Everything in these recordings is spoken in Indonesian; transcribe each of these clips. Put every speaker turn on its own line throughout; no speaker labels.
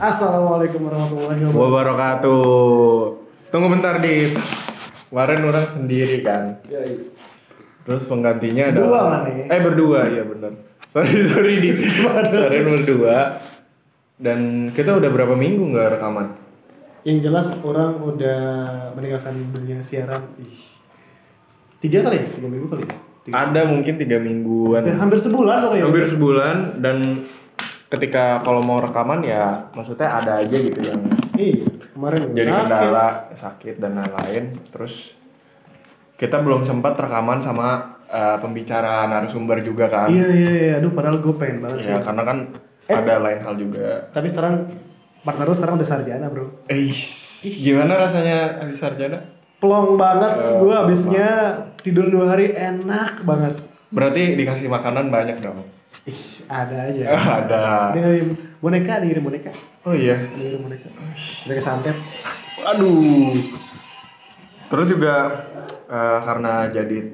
Assalamualaikum warahmatullahi wabarakatuh.
wabarakatuh. Tunggu bentar di Kemarin orang sendiri kan.
Ya, iya.
Terus penggantinya ada
Berdua kan nih?
Eh berdua iya benar. Sorry sorry di. Kemarin berdua. Dan kita udah berapa minggu nggak rekaman?
Yang jelas orang udah meninggalkan dunia siaran. Ih. Tiga kali ya? Tiga minggu kali ya? Tiga.
Ada mungkin tiga
Ya,
mingguan.
hampir sebulan loh kayaknya.
Hampir sebulan dan ketika kalau mau rekaman ya maksudnya ada aja gitu yang
Iya, kemarin
jadi
sakit.
kendala sakit dan lain-lain terus kita belum sempat rekaman sama eh, pembicara narasumber juga kan
Iya, iya, iya. Aduh, padahal gue pengen banget sih.
ya karena kan ada lain hal juga
Tapi sekarang partner lu sekarang udah sarjana bro.
eh gimana rasanya habis sarjana
Plong
Iya,
banget gue abisnya tidur dua hari enak banget.
berarti dikasih makanan banyak dong
Ih, ada aja.
Ya, Iya. ada
Ini boneka, ini boneka.
oh iya
Ini boneka. Boneka santet.
aduh terus juga eh, karena jadi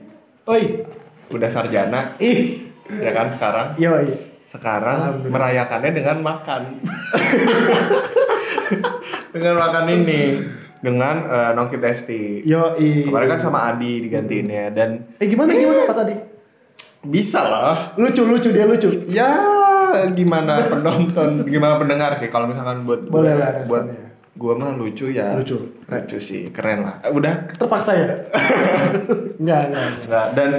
Oi,
udah sarjana
ih,
ya kan sekarang
yoi.
sekarang merayakannya dengan makan dengan makan ini dengan eh, nongki testi
Yoi.
kemarin kan sama Adi digantiinnya dan
Eh gimana gimana Pak Adi?
bisa lah
Lucu lucu dia lucu.
ya gimana penonton gimana pendengar sih kalau misalkan buat gue-
Boleh lah,
buat
responnya.
gua mah lucu ya
Lucu.
lucu sih keren lah Eh, udah
Terpaksa ya? enggak, enggak. enggak.
Nggak, dan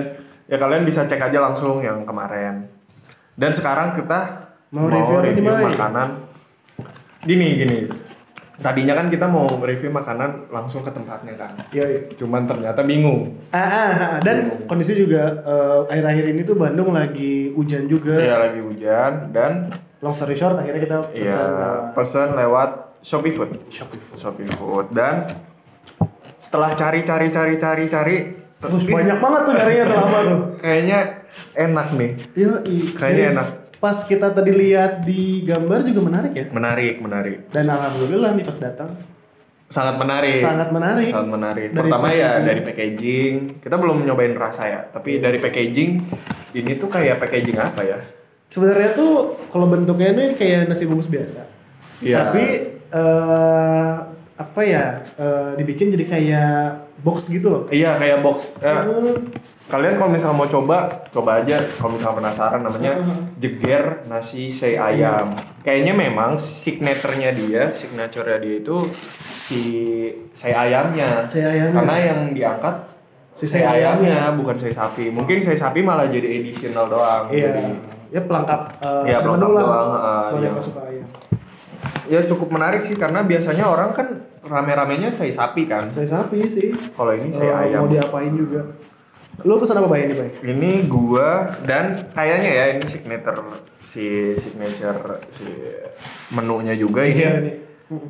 ya kalian bisa cek aja langsung yang kemarin. Dan sekarang kita
Mau review apa nih, Bay?
makanan. Gini gini. Tadinya kan kita mau review makanan langsung ke tempatnya kan.
Yoi.
Cuman ternyata bingung.
Iya, Ah, ah, ah. dan kondisi juga eh, akhir-akhir ini tuh Bandung lagi hujan juga.
Iya lagi hujan dan
Long story short akhirnya kita
iya
pesan eh,
pesan lewat Shopee Food.
Shopee Food.
Shopee Food dan setelah cari cari cari cari cari
Terus banyak banget tuh nyarinya tuh lama tuh.
kayaknya enak nih.
Yoi.
Kayaknya
Dan
enak.
Pas kita tadi lihat di gambar juga menarik ya.
Menarik, menarik.
Dan alhamdulillah nih pas datang
Sangat menarik.
sangat menarik.
Sangat menarik.
Dari
Pertama ya dari packaging. Kita belum nyobain rasa ya, tapi
Iya.
dari packaging ini tuh kayak packaging apa ya?
Sebenarnya tuh kalau bentuknya ini kayak nasi bungkus biasa.
Iya.
Tapi eh apa ya? eh, dibikin jadi kayak box gitu loh.
Iya kayak box. Eh,
Eh,
kalian kalau misalnya mau coba, coba aja. Kalau misalnya penasaran namanya jeger nasi sei ayam. Kayaknya memang signaturnya dia, signaturenya dia itu si sei ayamnya.
Sei ayamnya.
Karena yang diangkat
Si sei
si sei ayamnya, bukan sei sapi. Mungkin sei sapi malah jadi additional doang.
Iya.
Jadi,
Ya pelengkap. eh,
Iya, pelengkap
menu lah.
doang, eh,
Kalau yang
iya.
suka ayam.
ya cukup menarik sih karena biasanya orang kan rame-ramenya sei sapi kan
Saya sapi sih.
kalau ini sei
Eh,
ayam
Mau diapain juga. Lo pesan apa bay ini bay?
ini gua dan kayaknya ya ini signature si signature si menunya juga
Iya,
ini
ini. Mm.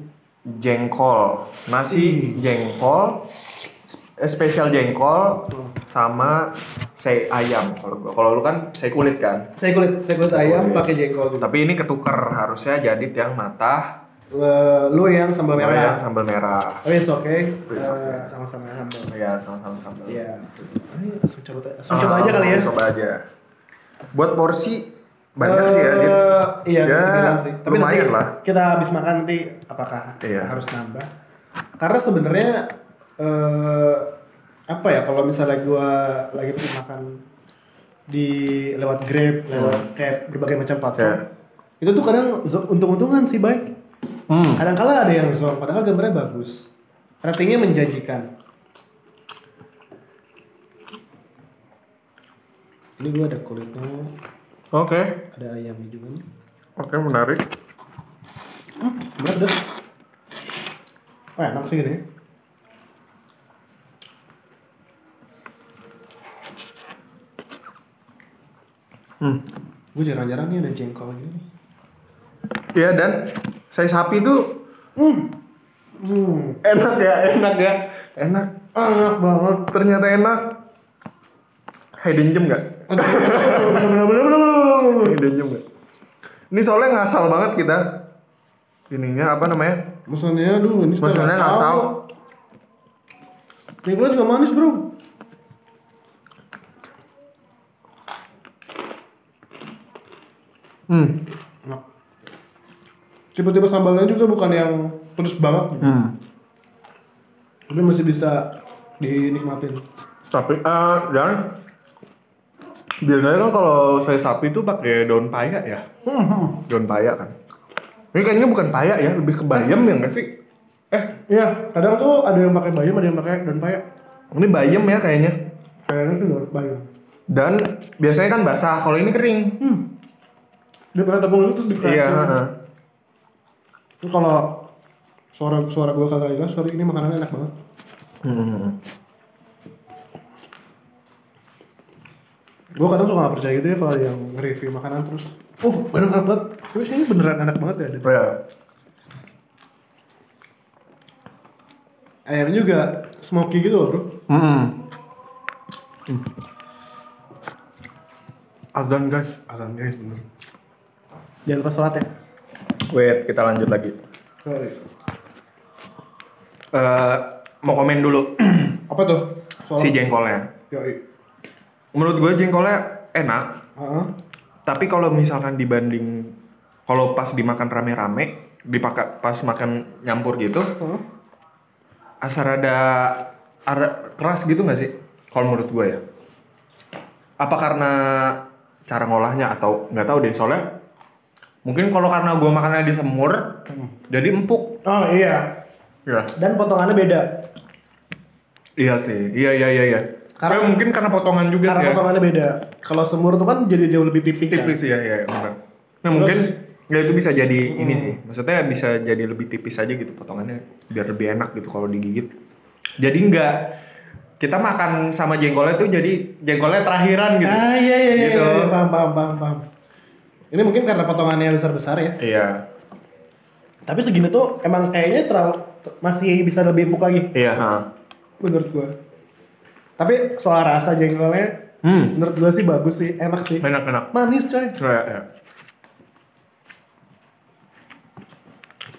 jengkol nasi jengkol eh, spesial jengkol sama sei ayam kalau gua kalau lu kan sei kulit kan
Saya kulit, saya kulit ayam pakai jengkol juga.
tapi ini ketuker harusnya jadi yang matah
Eh, Lo yang sambal
yang
merah.
sambal merah
Oh, it's okay.
It's okay.
Eh, sama-sama sambal.
ya sama-sama sambal
Iya. Ayo, langsung coba, langsung
Ah,
coba aja kali ya.
Coba aja. Buat porsi banyak sih ya. Dit.
Eh, Iya, bisa
Ya,
dibilang sih. Tapi
lumayan
nanti
lah.
Kita habis makan nanti apakah
Iya.
harus nambah? Karena sebenarnya eh apa ya kalau misalnya gua lagi pesen makan di lewat Grab, lewat
Hmm.
kayak berbagai macam platform.
Ya.
Itu tuh kadang zo- untung-untungan sih, baik.
Hmm.
Kadang kala ada yang zonk, padahal gambarnya bagus. Ratingnya menjanjikan. Ini gua ada kulitnya,
Oke.
ada ayamnya juga nih.
Oke, menarik.
Berat deh. Oh, enak sih ini.
Hmm.
Gue jarang-jarang nih ada jengkol gini. nih.
Iya dan saya sapi tuh
Hmm,
enak ya, enak ya. Enak.
enak banget.
Ternyata enak. Hidden gem nggak?
Bener-bener bener-bener.
Hidden gem nggak? Ini soalnya ngasal banget kita. Ininya apa namanya?
Maksudnya, aduh ini kita
Maksudnya
nggak
ngasal.
tahu. Jengkolnya juga manis bro.
Hmm.
Hmm. Enak. tipe-tipe sambalnya juga bukan yang pedes banget gitu.
Hmm.
tapi masih bisa dinikmatin
Tapi
Eh, dan biasanya kan kalau saya sapi tuh pakai daun paya ya.
Hmm.
Daun paya kan. Ini kayaknya bukan paya ya, lebih ke bayam ya nggak sih? Eh,
iya kadang tuh ada yang pakai bayam ada yang pakai daun paya
ini bayam ya kayaknya.
kayaknya sih daun bayam
Dan biasanya kan basah, kalau ini kering.
dia pernah tepung itu terus dikeratin
Iya, heeh.
Itu kalau suara suara gua kagak jelas sorry ini makanannya enak banget
Hmm.
gua kadang suka nggak percaya gitu ya kalau yang review makanan terus oh beneran enak banget terus ini beneran enak banget ya Dan
Ya.
ayamnya juga smoky gitu loh bro
Hmm. Azan guys, azan guys bener.
jangan lupa sholat ya
Wait, kita lanjut lagi.
Sorry.
Eh, mau komen dulu
apa tuh
si jengkolnya.
yoi
Menurut gue jengkolnya enak,
Heeh.
tapi kalau misalkan dibanding kalau pas dimakan rame-rame, dipakai pas makan nyampur gitu,
Heeh.
asal ada ara- keras gitu nggak sih? Kalau menurut gue ya. Apa karena cara ngolahnya atau nggak tahu deh soalnya mungkin kalau karena gue makannya di semur jadi empuk
oh iya
ya
dan potongannya beda
iya sih iya iya iya iya
Karena-
karena mungkin karena potongan juga
karena
sih ya.
potongannya beda kalau semur tuh kan jadi jauh lebih pipih kan?
tipis ya ya ya, benar. Nah mungkin ya itu bisa jadi
Hmm.
ini sih. Maksudnya bisa jadi lebih tipis aja gitu potongannya biar lebih enak gitu kalau digigit. Jadi enggak kita makan sama jengkolnya tuh jadi jengkolnya terakhiran gitu.
ah iya iya iya,
Gitu.
iya, iya. paham paham paham paham ini mungkin karena potongannya besar besar ya
Iya.
tapi segini tuh emang kayaknya terlalu masih bisa lebih empuk lagi
Iya, ha.
menurut gua tapi soal rasa jengkolnya
Hmm.
menurut gua sih bagus sih enak sih
Enak enak.
manis coy
Ya, ya.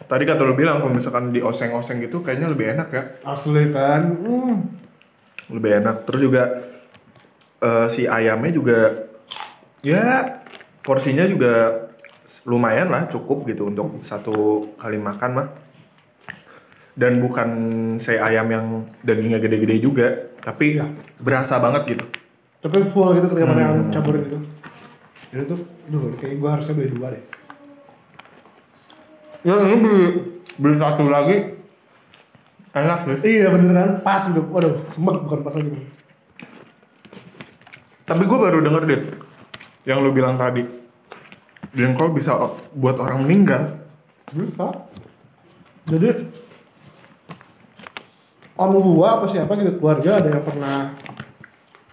Tadi kata lu bilang kalau misalkan di oseng-oseng gitu kayaknya lebih enak ya.
asli kan hmm.
lebih enak terus juga eh, si ayamnya juga ya porsinya juga lumayan lah cukup gitu untuk satu kali makan mah dan bukan saya ayam yang dagingnya gede-gede juga tapi ya, berasa banget gitu
tapi full gitu ketika mana yang campurin itu itu tuh duh ini kayak gua harusnya beli dua deh
ya ini beli, beli satu lagi enak sih
iya beneran pas itu waduh semek bukan pas lagi
tapi gue baru denger deh yang lu bilang tadi jengkol bisa buat orang meninggal
bisa jadi om gua apa siapa gitu keluarga ada yang pernah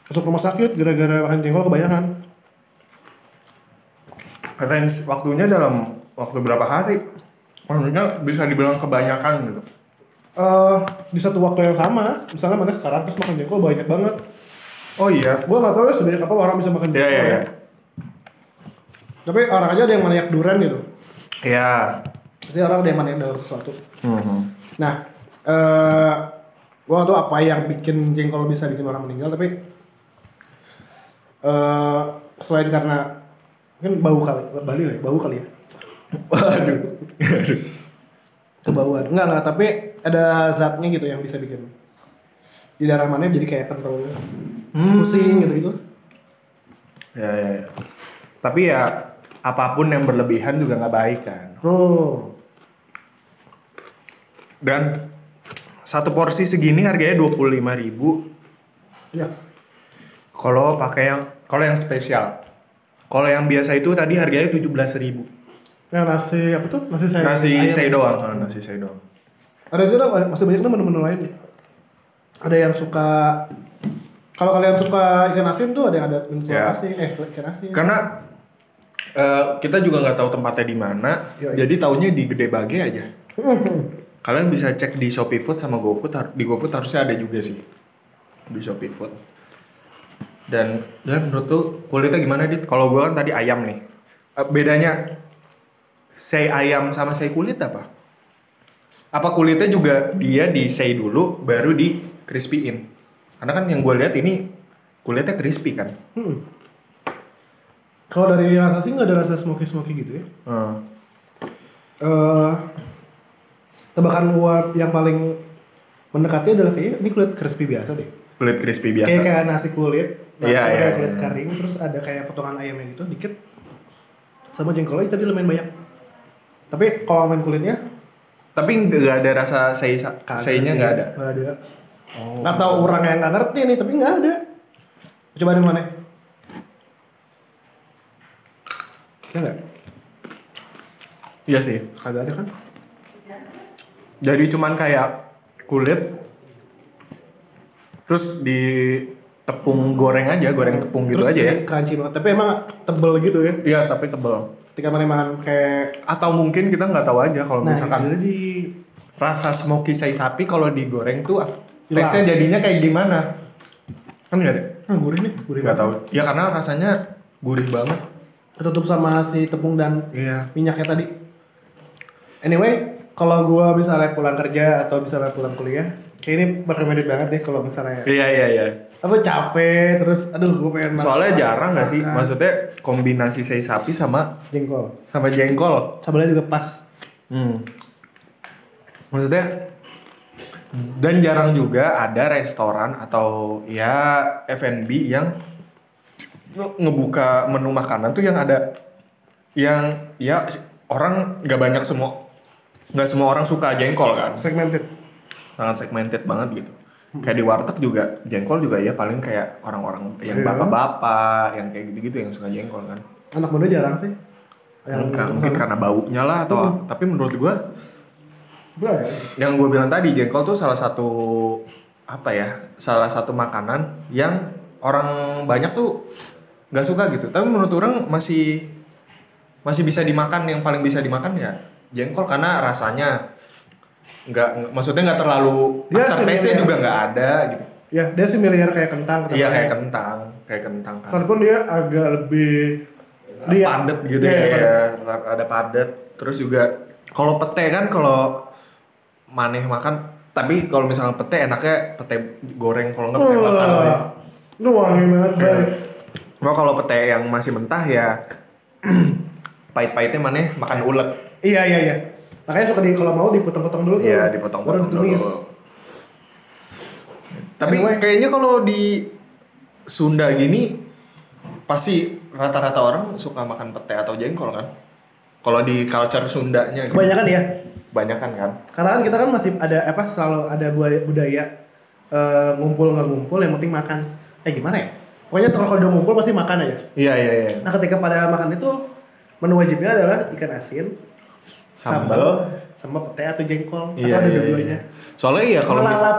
masuk rumah sakit gara-gara makan jengkol kebanyakan
range waktunya dalam waktu berapa hari? Oh, Maksudnya bisa dibilang kebanyakan gitu.
Eh di satu waktu yang sama misalnya mana sekarang terus makan jengkol banyak banget
Oh iya.
gua nggak tahu ya sebanyak apa orang bisa makan
Iya
jengkol
iya iya.
ya. tapi orang aja ada yang maniak durian gitu
Iya. Mhm.
pasti orang ada yang maniak dalam sesuatu Nah, eh gua gak tau apa yang bikin jengkol bisa bikin orang meninggal, tapi eh selain karena mungkin bau kali, Bali kali, bau kali ya. Waduh. Kebauan. Enggak, enggak, tapi ada zatnya gitu yang bisa bikin di darah mana jadi kayak kental gitu.
Hmm.
pusing gitu-gitu.
Iya iya. iya. Tapi ya apapun yang berlebihan juga nggak baik kan.
Oh.
Dan satu porsi segini harganya dua puluh lima ribu.
Iya.
Kalau pakai yang kalau yang spesial. Kalau yang biasa itu tadi harganya tujuh belas ribu.
Nah, nasi apa tuh? Nasi saya.
Nasi
ayam.
saya doang. Oh, Nasi saya doang.
ada juga ada- masih banyak tuh menu-menu lain ya. ada yang suka kalau kalian suka ikan asin tuh ada yang ada menu telur
Ya.
asin eh ikan asin
Karena eh, kita juga nggak tahu tempatnya di mana,
Yoi.
jadi taunya di Gede Bage aja. Kalian bisa cek di Shopee Food sama GoFood, har- di GoFood harusnya ada juga sih di Shopee Food. Dan ya menurut tuh kulitnya gimana dit? Kalau gua kan tadi ayam nih, Eh, bedanya say ayam sama say kulit apa? Apa kulitnya juga dia di say dulu, baru di crispyin? Karena kan yang gue lihat ini kulitnya crispy kan.
Hmm.
Eh,
kalau dari rasa sih nggak ada rasa smoky smoky gitu ya
Hmm.
eh tebakan luar yang paling mendekati adalah kayak ini kulit crispy biasa deh.
Kulit crispy biasa.
Kayak kayak nasi kulit, nasi
Iya,
kayak
iya,
kulit
iya.
kering, terus ada kayak potongan ayamnya gitu dikit. Sama jengkolnya tadi lumayan banyak. Tapi kalau main kulitnya
Tapi nggak ada rasa sei seinya
sih.
nggak ada.
Nggak ada. Nggak tahu orang yang nggak ngerti nih, tapi nggak ada. Coba ada mana? Ya nggak?
Iya sih.
Kagak ada kan?
Jadi cuman kayak kulit terus di tepung goreng aja, goreng tepung gitu
Terus
aja ya.
Crunchy banget, tapi emang tebel gitu ya.
Iya, tapi tebel.
Ketika mana makan kayak
Atau mungkin kita nggak tahu aja kalau
nah
misalkan
jadi di
rasa smoky sei sapi kalau digoreng tuh ah,
Hilang.
teksnya jadinya kayak gimana? Kan nggak ada.
ah, gurih nih, gurih
Nggak
banget.
tahu. Ya karena rasanya gurih banget.
Ketutup sama si tepung dan
Iya.
minyaknya tadi. Anyway, kalau gua misalnya pulang kerja atau misalnya pulang kuliah, kayak ini recommended banget deh kalau misalnya
Iya iya iya.
apa capek terus aduh gue pengen makan.
Soalnya jarang nggak sih?
Makan.
Maksudnya kombinasi sei sapi sama
jengkol
sama jengkol.
sambalnya juga pas
Hmm. Maksudnya dan jarang juga ada restoran atau ya F&B yang nge- ngebuka menu makanan tuh yang ada yang ya si- orang nggak banyak semua nggak semua orang suka jengkol kan
segmented
sangat segmented banget gitu kayak di warteg juga jengkol juga ya paling kayak orang-orang
Iya.
yang bapak-bapak yang kayak gitu-gitu yang suka jengkol kan
anak muda jarang sih
Mungkin-
gitu.
mungkin karena baunya lah atau tapi menurut gua
Belah ya?
yang gue bilang tadi jengkol tuh salah satu apa ya salah satu makanan yang orang banyak tuh nggak suka gitu tapi menurut orang masih masih bisa dimakan yang paling bisa dimakan ya jengkol karena rasanya nggak nggak- maksudnya nggak terlalu
Dia
aftertaste-nya
sendiri.
juga nggak ada gitu
ya dia similar kayak kentang
iya
tapi-
kayak kentang kayak kentang kan
walaupun dia agak lebih dia
padet gitu
Iya,
ya,
iya,
ya, ada padet terus juga kalau pete kan kalau maneh makan tapi kalau misalnya pete enaknya pete goreng kalau nggak pete
Oh.
bakar sih Iya.
Wah, lu wangi banget Bray.
Cuma kalau pete yang masih mentah ya pahit-pahitnya maneh makan ulek
iya iya iya makanya suka di kalau mau dipotong-potong dulu tuh
Iya dipotong-potong
Baru ditumis.
dulu tapi
Anyway.
kayaknya kalau di Sunda gini pasti rata-rata orang suka makan pete atau jengkol kan kalau di culture Sundanya gitu.
kebanyakan ya
Banyakan kan?
karena kan kita kan masih ada apa selalu ada budaya, budaya eh, ngumpul nggak ngumpul yang penting makan eh gimana ya pokoknya kalau udah ngumpul pasti makan aja
Iya iya iya.
Nah ketika pada makan itu menu wajibnya adalah ikan asin,
Sambal.
sama pete atau jengkol atau
Iya
ada
iya.
dua-duanya.
iya. Soalnya iya kalau
Sama lalap.
misal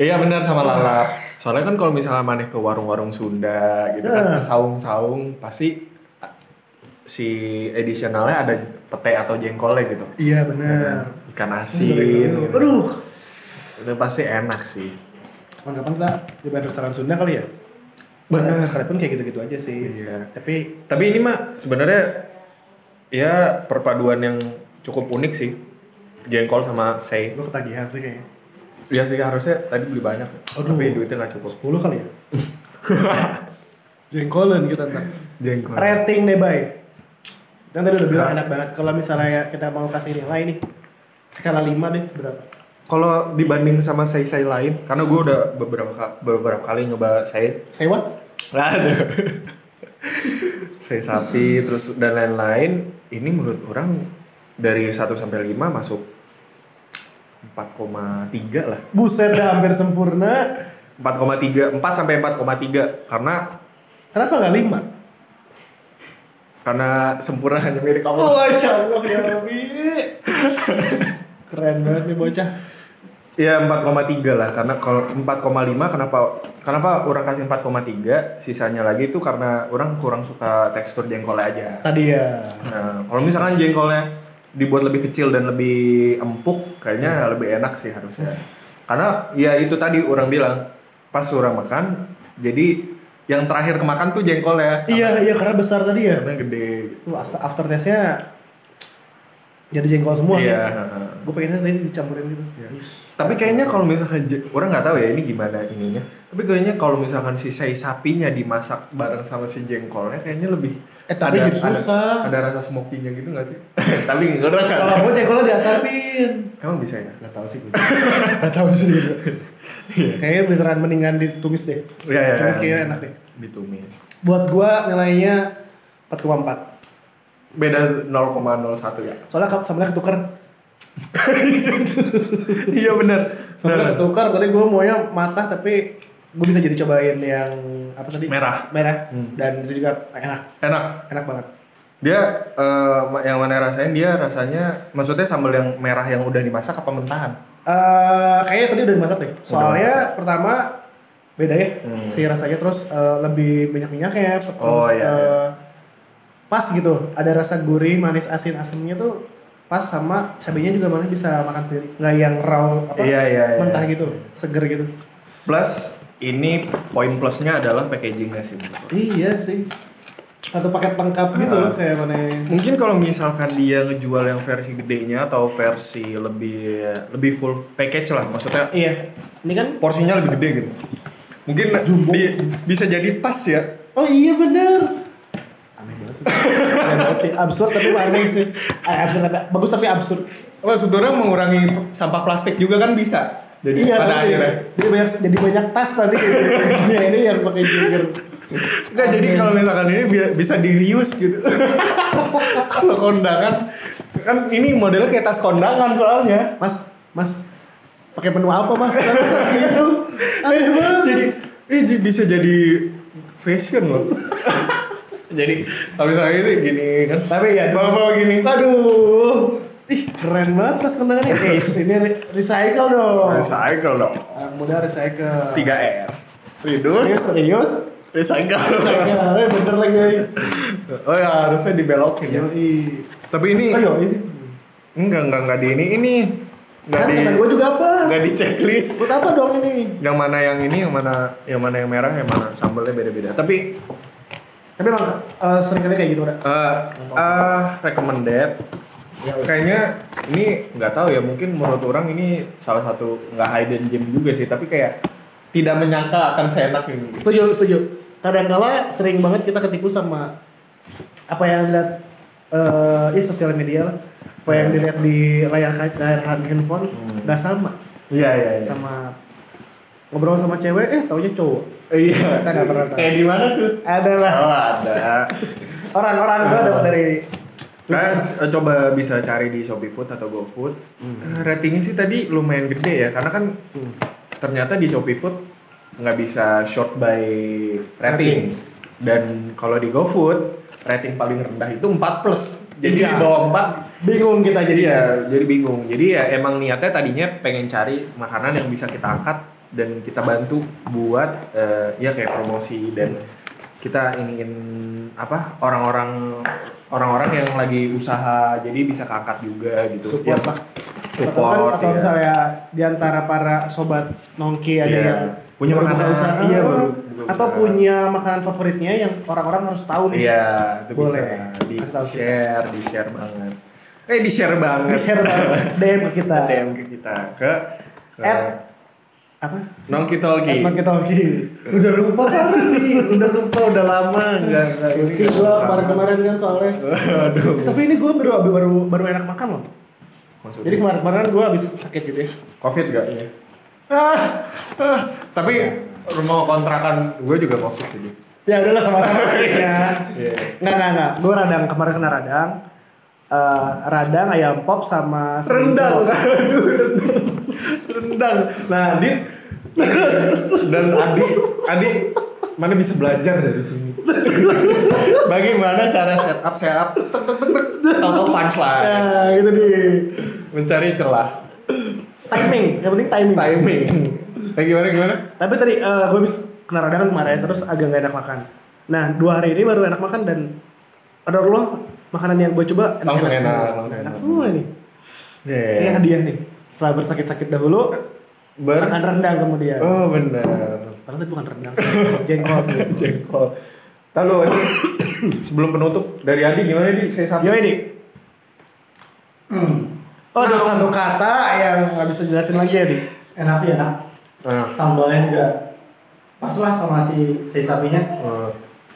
Iya benar sama lalap. Soalnya kan kalau misalnya maneh ke warung-warung Sunda gitu kan,
Nah.
ke saung-saung pasti ah, si edisionalnya ada pete atau jengkolnya gitu.
Iya benar.
Ikan
Terus ada
asin.
dua-duanya.
gitu.
Iya, Aduh.
Itu pasti enak sih.
Kapan-kapan kita coba restoran Sunda kali ya?
Benar.
Sekalipun kayak gitu-gitu aja sih.
Iya.
Tapi
Tapi ini mah sebenarnya ya perpaduan yang cukup unik sih. Jengkol sama sei.
lu ketagihan sih kayaknya.
Iya sih harusnya tadi beli banyak.
Aduh.
Tapi duitnya nggak
10
cukup.
kali ya? Jengkolan kita ntar.
Jengkol.
Rating deh bay. Yang tadi udah bilang enak banget. Kalau misalnya kita mau kasih nilai nih, skala 5 deh berapa?
Kalau dibanding sama sai-sai lain, karena gue udah beberapa ka- beberapa kali nyoba sai,
Sewa?
aduh, sai sapi, terus dan lain-lain, ini menurut orang dari 1 sampai 5 masuk 4,3 lah.
Buset dah hampir sempurna.
4,3, 4 sampai 4,3 karena
Kenapa nggak 5?
karena sempurna hanya milik Allah.
Oh, Masya Allah ya Rabbi. Keren banget nih bocah.
Ya 4,3 lah karena kalau 4,5 kenapa kenapa orang kasih 4,3 sisanya lagi itu karena orang kurang suka tekstur jengkolnya aja.
Tadi ya.
Nah, kalau misalkan jengkolnya dibuat lebih kecil dan lebih empuk, kayaknya
Hmm.
lebih enak sih harusnya. Karena ya itu tadi orang bilang pas orang makan, jadi yang terakhir kemakan tuh jengkolnya
Iya, iya karena besar tadi ya.
karena gede.
Tuh after aftertaste-nya jadi jengkol semua
Iya.
gue pengennya tadi dicampurin gitu
Tapi kayaknya kalau misalkan je- orang nggak tahu ya ini gimana ininya. Tapi kayaknya kalau misalkan si sei sapinya dimasak bareng sama si jengkolnya kayaknya lebih
Eh, tapi jadi susah.
Ada, rasa smokinya gitu nggak sih? tapi orang nggak
kalau
tahu.
gue jengkolnya diasapin
Emang bisa ya?
nggak tahu sih gue nggak tahu sih gitu. kayaknya beneran mendingan ditumis deh
Iya iya.
tumis kayaknya enak deh
Ditumis.
buat gue nilainya 4,4
Beda 0,01 ya.
soalnya kap- sambelnya ketuker
iya benar.
sambelnya ketuker tadi gue maunya matah tapi gue bisa jadi cobain yang apa tadi
Merah.
merah
Hmm.
dan itu juga enak
Enak.
enak banget
Dia eh, yang mana rasain dia rasanya maksudnya sambal yang merah yang udah dimasak apa mentahan?
Eh, kayaknya tadi udah dimasak deh. Soalnya pertama beda ya
Hmm.
si rasanya terus eh, lebih banyak minyaknya, terus
Oh,
eh,
iya, iya.
pas gitu. Ada rasa gurih, manis, asin, asemnya tuh pas sama cabenya juga malah bisa makan sendiri. Nggak yang raw apa
Iya, iya, iya.
mentah gitu, seger gitu.
Plus ini poin plusnya adalah packagingnya sih. menurut gua.
Iya sih. Satu paket lengkap gitu
Ah.
loh kayak mana
Mungkin kalau misalkan dia ngejual yang versi gedenya atau versi lebih lebih full package lah, maksudnya
Iya. Ini kan
porsinya lebih gede gitu. Mungkin
Jumbo.
di- bisa jadi pas ya.
Oh iya bener Aneh banget sih. Aneh banget sih. Absurd tapi aneh sih. Eh, absurd tapi bagus tapi absurd.
Maksudnya mengurangi sampah plastik juga kan bisa. Jadi
iya,
pada
tapi
akhirnya.
Jadi banyak jadi banyak tas tadi. ya ini yang pakai jigger.
Enggak jadi
Aneh.
kalau misalkan ini bi- bisa di reuse gitu. kalau kondangan kan ini modelnya kayak tas kondangan soalnya.
Mas, Mas pakai menu apa Mas? Kayak gitu. Aneh banget.
Jadi ini j- bisa jadi fashion loh. jadi kalau misalkan ini gini kan.
tapi ya
Bawa-bawa gini.
Aduh. Ih, keren banget tas kondangannya. Eh, ini re- recycle dong.
Recycle dong.
Anak muda recycle.
3R.
Ini
Reduce,
serius?
recycle.
Ya, eh, bener lagi.
oh ya harusnya dibelokin ya.
Yoi.
Tapi ini
Oh, yoi.
enggak enggak enggak di ini ini enggak
Kan
di
temen gue juga apa?
enggak di checklist.
Buat apa dong ini?
yang mana yang ini yang mana yang mana yang merah yang mana sambalnya beda-beda tapi
Tapi emang eh, sering kali kayak gitu udah.
eh eh, recommended Ya, kayaknya ini nggak tahu ya mungkin menurut orang ini salah satu nggak hidden gem juga sih tapi kayak tidak menyangka akan seenak ini
Setuju, setuju. Kadang-kala sering banget kita ketipu sama apa yang lihat eh ya sosial media lah. Apa yang dilihat di layar kaca, layar handphone
Hmm.
nggak sama
iya iya iya
sama ngobrol sama cewek eh taunya cowok.
iya
Kita nggak pernah tahu.
kayak di mana tuh
Adalah
oh ada
orang-orang
Nah.
gua dapat dari
Kalian eh, coba bisa cari di Shopee Food atau GoFood. Eh, Ratingnya sih tadi lumayan gede ya, karena kan ternyata di Shopee Food nggak bisa short by rating. Dan kalau di GoFood rating paling rendah itu 4 plus. Jadi
Iya.
di bawah 4
bingung kita
jadi
jadi
ya jadi bingung. Jadi ya emang niatnya tadinya pengen cari makanan yang bisa kita angkat dan kita bantu buat eh, ya kayak promosi dan kita ingin apa orang-orang orang-orang yang lagi usaha jadi bisa keangkat juga gitu.
support
Ya,
lah.
Support,
atau, kan- atau
iya.
misalnya di antara para sobat nongki ada
Iya.
yang
Punya
baru
makanan,
buka usaha,
iya, baru buka
atau
usaha.
punya makanan favoritnya yang orang-orang harus tahu nih
Iya, itu
Boleh.
bisa kan. di
Kasih tahu kita.
share, di share banget. Eh di share banget.
di share banget. DM ke kita
DM ke kita ke, ke
At apa At
Nongki Tolki.
nongki tongki udah lupa kan nih udah lupa udah lama
Enggak, enggak, ini
Oke,
enggak
gua
lupa.
kemarin kemarin kan soalnya
Aduh.
tapi ini gue baru baru baru enak makan loh jadi
Maksudnya
kemarin kemarin gue habis sakit gitu ya
Covid gak? Iya. Ah, ah. tapi rumah kontrakan gue juga Covid sih.
ya udahlah sama-sama ya
Iya.
Nggak, nggak, nggak. Gue radang, kemarin kena radang. Eh, radang, ayam pop, sama...
Rendang. Aduh, rendang. rendang. Nah, Adit dan Adi, Adi mana bisa belajar dari sini? Bagaimana cara setup, setup, tek tek tek tek, atau punchline,
Nah, gitu di
mencari celah,
timing, yang penting timing.
timing. Nah, gimana gimana?
Tapi tadi eh gue habis kena radang kan kemarin, terus agak nggak enak makan. Nah, dua hari ini baru enak makan dan ada Allah makanan yang gue coba
Langsung enak,
semua.
langsung
enak
enak. Iya.
semua nih. Ini
Yeah.
hadiah nih. Setelah bersakit-sakit dahulu,
Ber.
makan rendang kemudian.
Oh benar.
Padahal tadi bukan rendang, jengkol sih.
jengkol. Lalu
Ya.
Adi, sebelum penutup dari Adi gimana di saya satu?
Yo ini,
Hmm.
Oh, ada satu kata yang nggak bisa jelasin lagi ya, Di.
Enak sih enak.
Nah,
Sambalnya juga pas lah sama si si sapinya.
eh,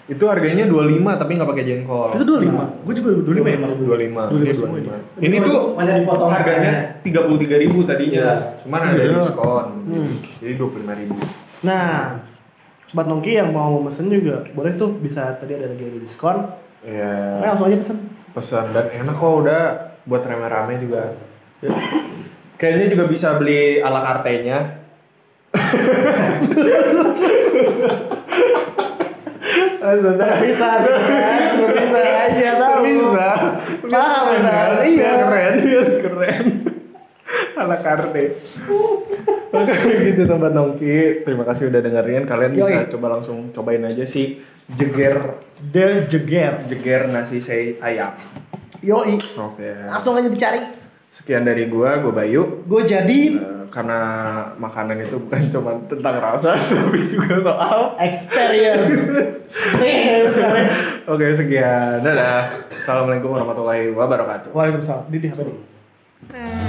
itu harganya 25 tapi nggak pakai jengkol.
Itu 25. Gue juga 25 ya, Bang? 25
25. Ini
semua ini.
25. Ini tuh
mana dipotong
harganya 33.000 tadinya.
Iya.
Cuman ada
Iya.
diskon.
Hmm.
Jadi 25.000.
Nah, Sobat Nongki yang mau mesen juga boleh tuh bisa tadi ada lagi ada diskon.
Iya.
Nah, langsung aja pesen.
Pesan dan enak kok udah buat rame-rame juga.
Iya.
Kayaknya juga bisa beli ala kartenya.
Eh, Bisa, bisa, bisa aja tahu.
Bisa.
Paham, benar.
Keren,
Iya.
Keren, keren. Ala karte. Oke gitu sobat Nongki. Terima kasih udah dengerin. Kalian bisa
Yoi.
coba langsung cobain aja sih jeger
The Jeger.
jeger nasi sei ayam.
Yoi.
Oke.
Langsung aja dicari.
Sekian dari gua, gua Bayu.
Gue jadi
Eh, karena makanan itu bukan cuma tentang rasa, tapi juga soal.
experience.
Oke, sekian. Dadah. Assalamualaikum warahmatullahi wabarakatuh.
Waalaikumsalam. Di di apa nih?
Bye.